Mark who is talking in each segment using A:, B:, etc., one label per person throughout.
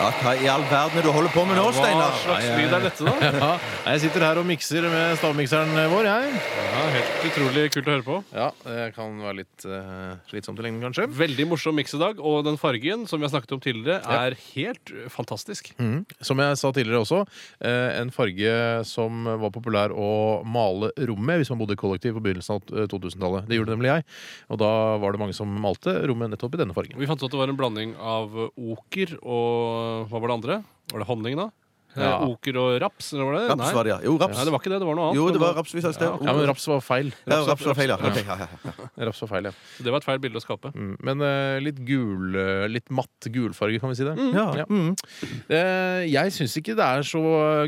A: Ja, hva i all verden er det du holder på med nå,
B: Hva
A: Steinar?
B: slags lyd er dette, da?
C: Ja, jeg sitter her og mikser med stavmikseren vår, jeg.
B: Ja, helt utrolig kult å høre på.
C: Ja, det kan være litt eh, slitsomt i lengden, kanskje.
B: Veldig morsom miks i dag, og den fargen som vi har snakket om tidligere, er helt eh, fantastisk.
C: Mhm. Som jeg sa tidligere også, eh, en farge som var populær å male rommet hvis man bodde i kollektiv på begynnelsen av eh, 2000-tallet. Det gjorde nemlig jeg, og da var det mange som malte rommet nettopp i denne fargen.
B: Vi fant ut at det var en blanding av oker og Hva var det andre? Var det honning, da? Eh,
C: Ja.
B: Oker og raps? Eller var det?
A: Raps var det, ja. Jo, raps.
B: Nei, det var ikke det. Det var noe annet.
A: Jo, det
B: men
A: var raps vi sa i sted.
C: Ja, men raps var feil.
A: Ja, raps var feil, ja. Ok, ja, ja, ja.
C: Raps var feil, ja.
B: det var et feil bilde å skape.
C: Mm. Men eh, litt gul, eh, litt matt gulfarge, kan vi si det.
B: Mm.
A: Ja.
C: Ja. Eh, jeg syns ikke det er så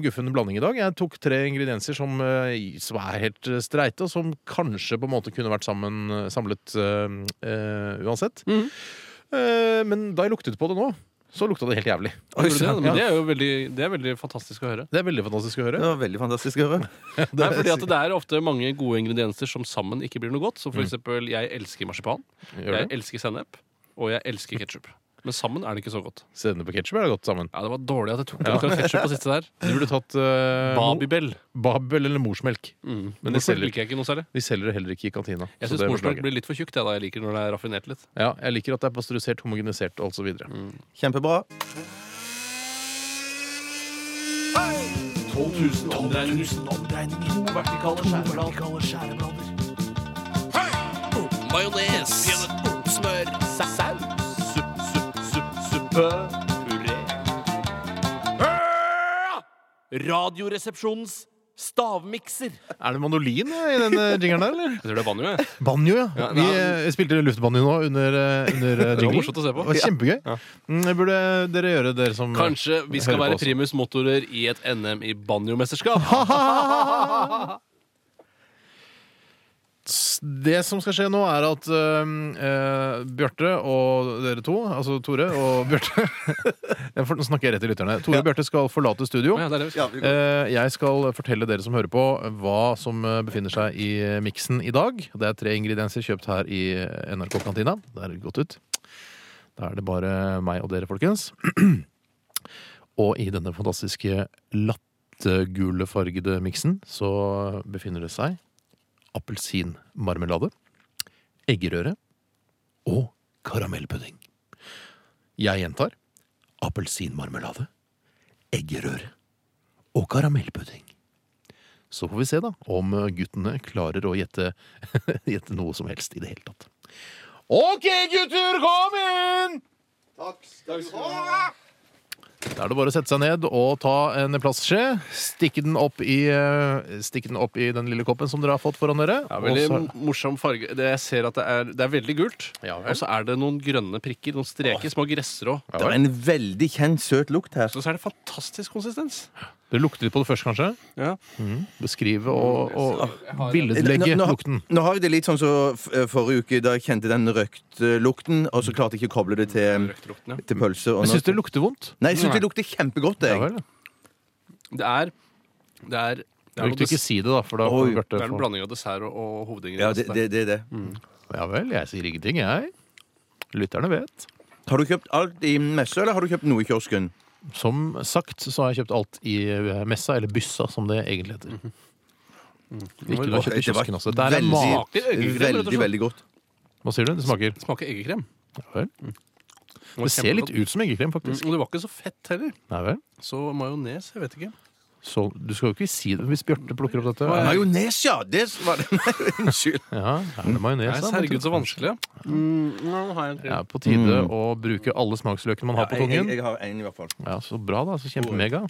C: guffen blanding i dag. Jeg tok tre ingredienser som, eh, som er helt eh, streite, og som kanskje på en måte kunne vært sammen, samlet eh, eh, uansett.
B: Mhm.
C: Eh, men da jeg luktet på det nå, så lukta det helt jævlig.
A: Oi,
B: Gjorde
A: sant,
B: det, men
A: ja.
B: det er jo veldig, det er veldig fantastisk å høre.
C: Det er veldig fantastisk å høre.
A: Det var veldig fantastisk å høre.
B: Nei, fordi at Det er ofte mange gode ingredienser som sammen ikke blir noe godt. Så for
A: Mm.
B: eksempel, jeg elsker marsipan,
C: Gjør
B: jeg
C: det.
B: elsker sennep, og jeg elsker ketsjup. Men sammen er det ikke så godt.
C: Sennep og ketsjup er godt sammen.
B: Ja, Det var dårlig at jeg tok akkurat ketsjup på siste der.
C: Du burde tatt eh, mo-
B: Babybel.
C: Babel eller morsmelk.
B: Mm.
C: Men
B: Men
C: de
B: det
C: selger-
B: liker jeg ikke noe særlig.
C: De selger det heller ikke i kantina.
B: Jeg
C: så
B: syns
C: det
B: morsmelk
C: beklager.
B: blir litt for tjukt. Jeg, da. jeg liker når det er raffinert litt.
C: ja, Jeg liker at det er pasteurisert, homogenisert og alt så videre.
A: Kjempebra.
B: Radioresepsjonens stavmikser.
C: Er det mandolin eh, i den jingeren der, eller?
B: Jeg tror det er banjo, jeg.
C: Banjo, ja.
B: Ja,
C: vi
B: nei,
C: eh, spilte luftbanjo nå under, eh, under eh,
B: Det var
C: jinglen.
B: morsomt å se på.
C: Det var kjempegøy.
B: Ja.
C: Mm, det burde dere gjøre, dere som
B: Kanskje vi skal
C: hører
B: være
C: på oss.
B: primus motorer i et NM i banjomesterskap.
C: Det som skal skje nå, er at øhm, eh, Bjarte og dere to, altså Tore og Bjarte Jeg får- Nå snakker jeg rett til lytterne. Tore og Bjarte skal forlate studio.
B: Ja, det er det vi skal.
A: Ja, vi går.
C: Eh, Jeg skal fortelle dere som hører på, hva som eh, befinner seg i miksen i dag. Det er tre ingredienser kjøpt her i NRK-kantina. Det er godt ut. Da er det bare meg og dere, folkens. Og i denne fantastiske lattegulefargede miksen så befinner det seg appelsinmarmelade, eggerøre og karamellpudding. Jeg gjentar appelsinmarmelade, eggerøre og karamellpudding. Så får vi se da om guttene klarer å gjette, gjette noe som helst i det hele tatt. OK, gutter, kom inn! Da er det bare å sette seg ned og ta en plastskje. Stikke den opp i, eh, stikke den, opp i den lille koppen som dere har fått foran dere.
B: Ja,
C: og
B: veldig
C: så-
B: morsom farge. Det, jeg ser at det er, det er veldig gult.
C: Ja vel.
B: og så er det noen grønne prikker, noen streker, små gressrå.
C: Ja
A: Det
C: vel.
A: er en veldig kjent søt lukt her.
B: Og så er det fantastisk konsistens.
C: Dere lukter litt på det først, kanskje? Mhm.
B: Ja.
C: Beskrive og, og
A: Nå-
C: billedlegge
A: nå-
C: lukten.
A: Nå har jeg det litt sånn som så f- forrige uke, da jeg kjente den røkt-lukten, og så klarte jeg ikke å koble det til,
B: Røktrukten, ja.
A: til pølse. Og
C: Jeg
A: nå-
C: syns det lukter vondt.
A: Nei, jeg syns det lukter kjempegodt.
C: Ja
A: Jeg.
C: vel.
B: Det er Det er, det er,
C: Du
B: noe
C: ikke
B: des-
C: si det, da, for da
A: Oi,
C: får
B: det
C: Bjarte
B: er en
C: få-
B: blanding av dessert og, og
A: Ja, det
B: hovedingrediens.
A: er det, det, er det.
C: Ja vel, jeg sier ingenting, jeg. Lytterne vet.
A: Har du kjøpt alt i messe, eller har du kjøpt noe i kiosken?
C: Som sagt så har jeg kjøpt alt i eh, messa, eller byssa som det egentlig heter. Mhm. Ikke du har kjøpt i
A: Det var
C: kiosken også. Det er en mat.
B: Smaker øyekrem, rett og
A: veldig,
B: slett.
A: veldig godt.
C: Hva sier du? Det smaker
B: Det smaker eggekrem.
C: ja, vel. Det ser litt ut som eggekrem,
B: Mm,
C: faktisk.
B: Og det var ikke så fett heller.
C: Nei vel.
B: Så majones, jeg vet ikke.
C: Så du skal jo ikke si det hvis Bjarte plukker opp dette.
B: Nei.
A: Majones, ja! Det var det. Nei, unnskyld.
C: Ja, er det majones?
B: Nei,
C: da?
B: herregud, så vanskelig. Mm, nå har jeg en til.
C: Ja, på tide å bruke alle smaksløkene man har på
A: Jeg, jeg,
C: tungen.
A: jeg har en i hvert fall.
C: Ja, Så bra, da. Så kjempemega.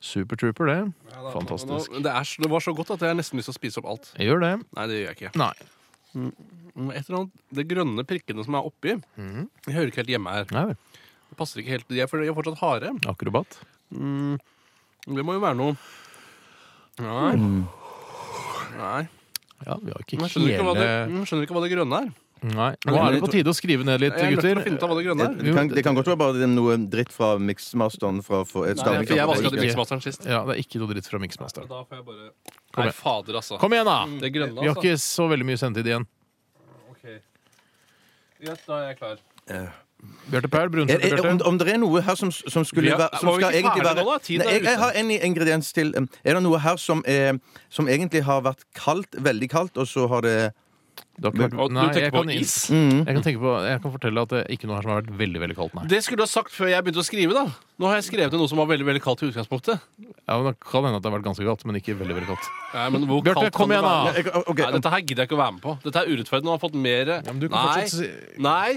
C: Supertrooper, det.
B: Ja, da.
C: Fantastisk.
B: Nå- Det, er, så- det var så godt at jeg nesten lyst til å spise opp alt.
C: Jeg gjør det.
B: Nei, det gjør jeg ikke. Mm,
C: Nei.
B: Et eller annet, Det grønne prikkene som er oppi,
C: Mhm.
B: jeg hører ikke helt hjemme her.
C: Nei vel.
B: Det passer ikke helt, De er, for de er fortsatt harde.
C: Akrobat.
B: Mm, Det må jo være noe Nei.
C: Mm.
B: Nei.
C: Ja, vi har
B: Jeg
C: ikke
B: skjønner ikke, hva det,
C: hele
B: jeg skjønner ikke hva det grønne er.
C: Nei. Nå er det på tide å skrive ned litt,
B: Jeg er nødt til å
C: gutter. eh,
B: finne ut av hva det grønne er.
A: Det kan, det kan godt være bare det er noe dritt fra miksmasteren. Fra, fra, et
B: Nei, for jeg
A: stavmikser.
B: vaska
C: ikke.
B: til miksmasteren sist.
C: Ja, det er ikke noe dritt fra Mixmaster.
B: Da får jeg bare
C: Kom
B: Nei,
C: igjen.
B: fader, altså.
C: Kom igjen, da!
B: Det grønne,
C: Vi har
B: altså.
C: ikke så veldig mye sendetid igjen.
B: Ok. Greit, da er jeg klar.
A: Eh,
C: Bjarte Paul,
A: Er,
C: brunsukker,
A: er, om,
C: Bjarte.
A: om det er noe her som, som skulle
B: Ja,
A: være som
B: var vi
A: skal
B: ikke
A: egentlig
B: ferdig
A: være,
B: nå, da? Tiden
A: Nei,
B: er
A: jeg, jeg
B: ute.
A: har en ingrediens til. Um, Er det noe her som, er, som egentlig har vært kaldt, veldig kaldt, og så har det
C: Det har ikke vært-
B: Og du
C: Nei,
B: tenker
C: jeg
B: på
C: kan-
B: is?
A: mm.
C: Jeg kan, tenke på, jeg kan fortelle at det er ikke noe her som har vært veldig veldig kaldt. Nei.
B: Det skulle du ha sagt før jeg begynte å skrive, da. Nå har jeg skrevet noe som var veldig veldig kaldt i utgangspunktet.
C: Ja, men det kan hende at det har vært ganske kaldt, men ikke veldig veldig kaldt.
B: Nei, men hvor
C: Bjarte,
B: kaldt kan
C: kom
B: det
C: igjen da.
B: være?
A: Jeg- ok,
B: Nei, dette her gidder jeg ikke å være med på. Dette er urettferdig. Nå har jeg fått mer
C: men du kan
B: Nei.
C: fortsatt si- Mm.
B: Nei.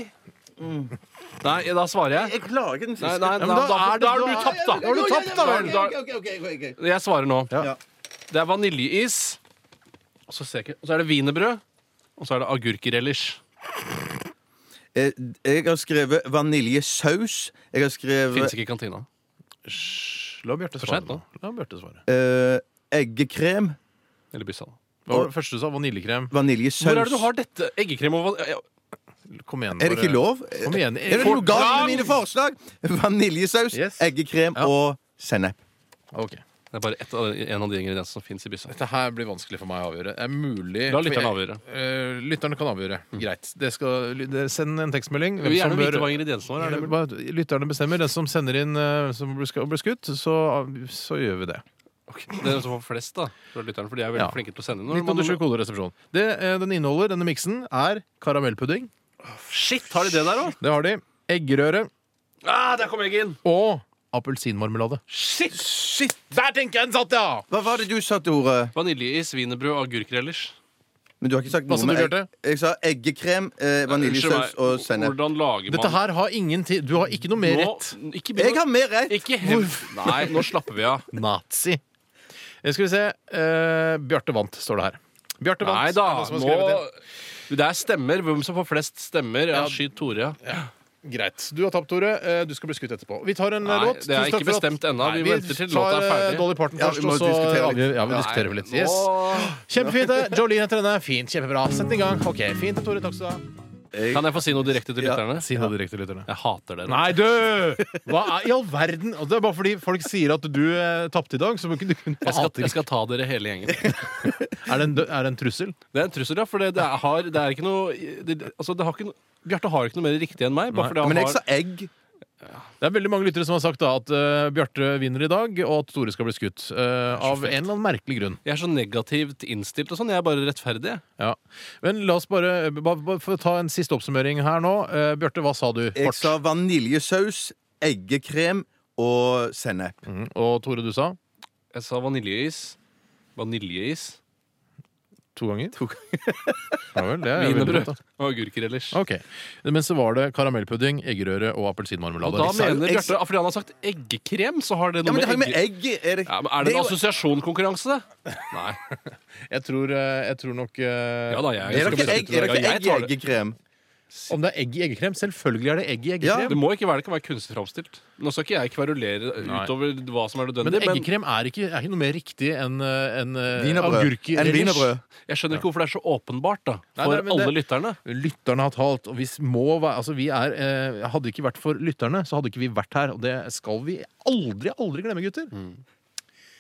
B: Nei, ja, da svarer jeg.
A: Jeg klager den siste.
B: Nei, nei,
A: Ja, men
B: nei, da- da er du
A: er- Ja, ja,
B: tapt, da.
A: ja,
B: Da er du
A: ja,
B: tapt, da,
A: ja,
B: vel.
A: ja, ok, ok, ok, ok, ok.
B: Jeg svarer nå.
C: Ja.
B: Det er vaniljeis. Og så, ser jeg ikke. og så er det wienerbrød. Og så er det agurkrellers.
A: Eh, Jeg har skrevet vaniljesaus. Jeg har skrevet
B: Fins ikke i kantina.
C: Hysj, La Bjarte
B: For
C: svare.
B: sent
C: nå. La Bjarte svare.
A: eh, eggekrem.
B: Eller byssa. da.
C: Hva var det første du sa? Vaniljekrem.
A: Vaniljesaus.
B: Hvor er det du har dette? Eggekrem og van... ja,
C: Kom igjen.
A: Er det
C: bare.
A: ikke lov?
C: Kom igjen.
A: Er det noe galt med mine forslag? Vaniljesaus,
C: Yes.
A: eggekrem
C: Ja.
A: og sennep.
C: Ok.
B: Det er bare ett av, en av de ingrediensene som fins i byssa.
C: Dette her blir vanskelig for meg å avgjøre. Det er mulig
B: La lytterne avgjøre.
C: Eh, lytterne kan avgjøre. Greit. Det skal, det, send en tekstmelding.
B: Mm. Vi vil
C: som
B: gjerne
C: bør- Eh,
B: vite hva ingrediensene våre er. Det,
C: Hva lytterne bestemmer. Den som sender inn eh, som blir sk- blir skutt, så, så gjør vi det.
B: Ok, det er den som får flest, da. Fra lytterne, for de er veldig
C: Ja.
B: flinke til å sende inn. Når man-
C: 1987 koderesepsjon. Det eh, den inneholder, denne miksen, er karamellpudding.
B: Shit, har de det der òg?
C: Det har de. Eggerøre
B: Ah, der kom egget inn!
C: og appelsinmarmelade.
B: Shit!
C: Shit! Der tenker jeg den satt, ja!
A: Hva var det du sa, Tore?
B: Vaniljeis, wienerbrød og agurkrellers.
A: Men du har ikke sagt
C: Hva
A: noe
C: sa du,
A: med egg.
C: Bjarte?
A: Jeg sa eggekrem, eh, vaniljesaus
B: Unnskyld meg,
A: og sennep.
B: Hvordan lager man
C: Dette her har ingenting Du har ikke noe mer rett.
B: Nå, ikke begynn
A: Jeg
B: å-
A: har mer rett!
B: Ikke hev... Nei, nå slapper vi av.
C: Nazi. Eh, Skal vi se. Eh, Bjarte vant, står det her. Bjarte vant.
B: Nei da,
C: er det som har
B: nå
C: skrevet inn.
B: Det er stemmer. Hvem som får flest stemmer? Ja,
C: Ja.
B: skyt Tore.
C: Greit. Du har tapt, Tore. Eh, Du skal bli skutt etterpå. Vi tar en eh,
B: Nei,
C: låt.
B: det er
C: Tusen takk
B: ikke
C: for at-
B: bestemt ennå. Vi
C: Nei,
B: venter til låta er
C: tar, eh,
B: ferdig.
C: Dolly Parton
A: Ja,
C: først,
A: vi må
C: og så
A: diskutere litt.
C: avgjør- Ja, vi diskuterer vel litt. Yes. Kjempefint. det. Jolene heter denne. Fint, kjempebra. Sett den i gang. Ok, Fint, Tore. Takk skal du
A: Jeg-
B: Kan jeg få si noe direkte til
A: Ja.
B: lytterne?
C: ha. Si noe direkte til lytterne.
B: Jeg hater dere.
C: Nei, du! Hva er i all verden? Og Det er bare fordi folk sier at du eh, tapte i dag, så må ikke du kunne
B: Jeg skal,
C: hater
B: jeg skal ta dere hele gjengen.
C: Er det en, dø- er det en trussel?
B: Det er en trussel, ja. For det, det, er, har, det er ikke noe det, altså, det har ikke, noe- Bjarte har ikke noe mer riktig enn meg. Bare fordi
A: Men
B: han
A: jeg sa
B: har,
A: egg.
C: Det er veldig mange lyttere som har sagt da at eh, Bjarte vinner i dag, og at Tore skal bli skutt. eh, av en eller annen merkelig grunn.
B: jeg er så negativt innstilt og sånn. Jeg er bare rettferdig. jeg.
C: Ja. Men la oss bare, bare, bare få ta en siste oppsummering her nå. Eh, Bjarte, hva sa du?
A: Jeg sa vaniljesaus, eggekrem og sennep.
C: Mm. Og Tore, du sa?
B: Jeg sa vaniljeis. Vaniljeis.
C: To ganger?
A: To
C: ja vel, det er veldig
B: Wienerbrød
C: godt, da.
B: og agurker ellers.
C: Ok, Men så var det karamellpudding, eggerøre og
B: Og
C: appelsinmarmelade.
B: da
A: sa jo
B: mener
A: egg-
B: Bjarte at fordi han har sagt eggekrem, så har det
A: Ja,
B: noe
A: men det har jo
B: med
A: med
B: egg
A: egg Er det,
B: ja, men Er det
A: er
B: en
A: jo-
B: assosiasjonkonkurranse? Nei.
C: Jeg tror, eh, jeg tror nok eh,
B: Ja da,
A: er
B: jeg-
C: det
A: det ikke
C: skal bli
A: egg, er det
C: skutt i
A: ikke
B: Ja, jeg
C: dag.
A: egg i
B: tar det.
A: eggekrem?
C: Om det er egg i eggekrem? Selvfølgelig er det egg i
A: Ja.
C: eggekrem.
B: Det må ikke være det kan være kunstig framstilt. Nå skal ikke jeg kverulere utover hva som er
C: Men
B: nødvendig, men,
C: eggekrem er ikke, er ikke noe mer riktig enn eh, enn, eh,
A: Wienerbrød.
C: agurker
A: En
C: ellers.
A: wienerbrød.
B: jeg skjønner ikke hvorfor det er så åpenbart da
C: Nei,
B: for
C: nei, men
B: alle
C: det-
B: lytterne.
C: Lytterne har talt, og vi må være Altså, vi er eh, Hadde det ikke vært for lytterne, så hadde ikke vi vært her, og det skal vi aldri, aldri glemme, gutter.
B: Mm.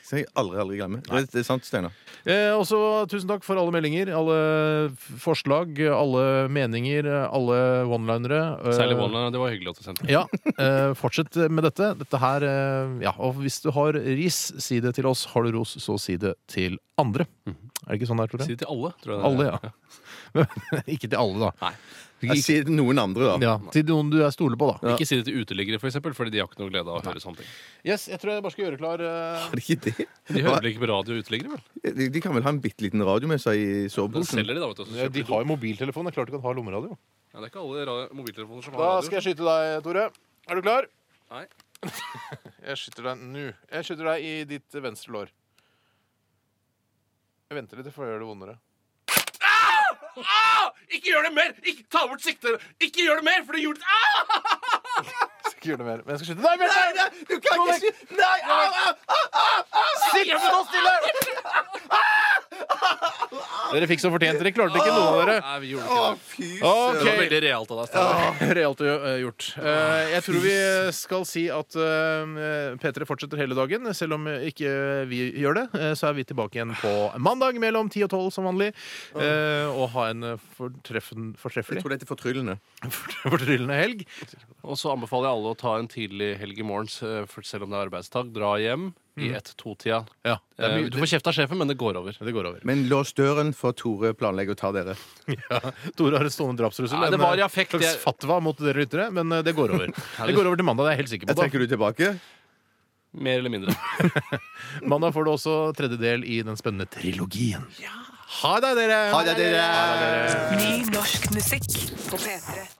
A: Som jeg aldri, aldri glemmer. Det, det er sant, Steinar.
C: Eh, også tusen takk for alle meldinger, alle f- forslag, alle meninger, alle one-linere. Eh,
B: Særlig Wallner. Det var hyggelig at du sendte.
C: Ja, eh, fortsett med dette. Dette her, eh, ja, Og hvis du har ris, si det til oss. Har du ros, så si det til andre. Er det ikke sånn det er, Tore?
B: Mm. Si det til alle, tror jeg. det er.
C: Alle, ja. ikke til alle, da.
B: Nei.
A: Jeg sier det til noen andre, da.
C: Ja, til noen du er stoler på, da.
B: Ikke si det til uteliggere, for eksempel, fordi de har ikke noe glede av å høre sånne ting.
C: Yes, jeg tror jeg bare skal gjøre klar eh,
A: Er det ikke det?
B: De hører vel ikke på radio, uteliggere, vel?
A: De, de kan vel ha en bitte liten radio med seg i
B: Den
A: soveposen?
B: selger de, da. vet du. og så
C: ja,
B: kjøper
C: Eh, De
B: de
C: har jo mobiltelefon. Det er klart du kan ha lommeradio.
B: Ja, det er ikke alle radio- mobiltelefoner som
C: Da
B: har radio.
C: skal jeg skyte deg, Tore. Er du klar?
B: Nei.
C: Jeg skyter deg nå. Jeg skyter deg i ditt venstre lår. Jeg venter litt, for jeg gjør det vondere.
B: Ah! Ikke gjør det mer! Ikke Ta bort siktet! Ikke gjør det mer, for det gjorde ah!
C: Ikke gjør det mer. Men jeg skal skyte deg. Bjarte!
A: Du kan ikke si Nei! Au, au!
C: Sitt stå stille! Dere fikk som fortjent. Dere klarte ikke noe av dere.
B: Nei, vi gjorde ikke det.
A: fy
C: Ok.
B: Det var veldig realt av deg. Steinar.
C: Realt eh, gjort. Eh, Jeg tror vi skal si at eh, P3 fortsetter hele dagen. Selv om ikke vi gjør det, eh, så er vi tilbake igjen på mandag mellom 10 og 12 som vanlig. Eh, Og ha en eh, fortreffen,
A: Jeg
C: fortreffelig,
A: tror det er fortryllende.
C: fortryllende helg.
B: Og så anbefaler jeg alle å ta en tidlig helg i morgen, s- eh, for selv om det er arbeidsdag. Dra hjem i ett-to-tida.
C: Ja, det, er
B: Eh,
C: mye,
B: Du får kjeft av sjefen, men det går over.
C: det, det går over.
A: Men lås døren, for Tore planlegger å ta dere.
C: Tore har en stående drapstrussel.
B: Nei, det
C: en,
B: var i
C: eh,
B: affekt,
C: slags
B: jeg-
C: fatwa mot dere lyttere, men eh, det går over. Det går over til mandag, det er jeg helt
A: Jeg
C: sikker på. Da.
A: trekker du tilbake.
B: Mer eller mindre.
C: Mandag får du også tredje del i den spennende trilogien. Ha det, dere!
A: Ha det, dere!
D: Ny norsk musikk på P3.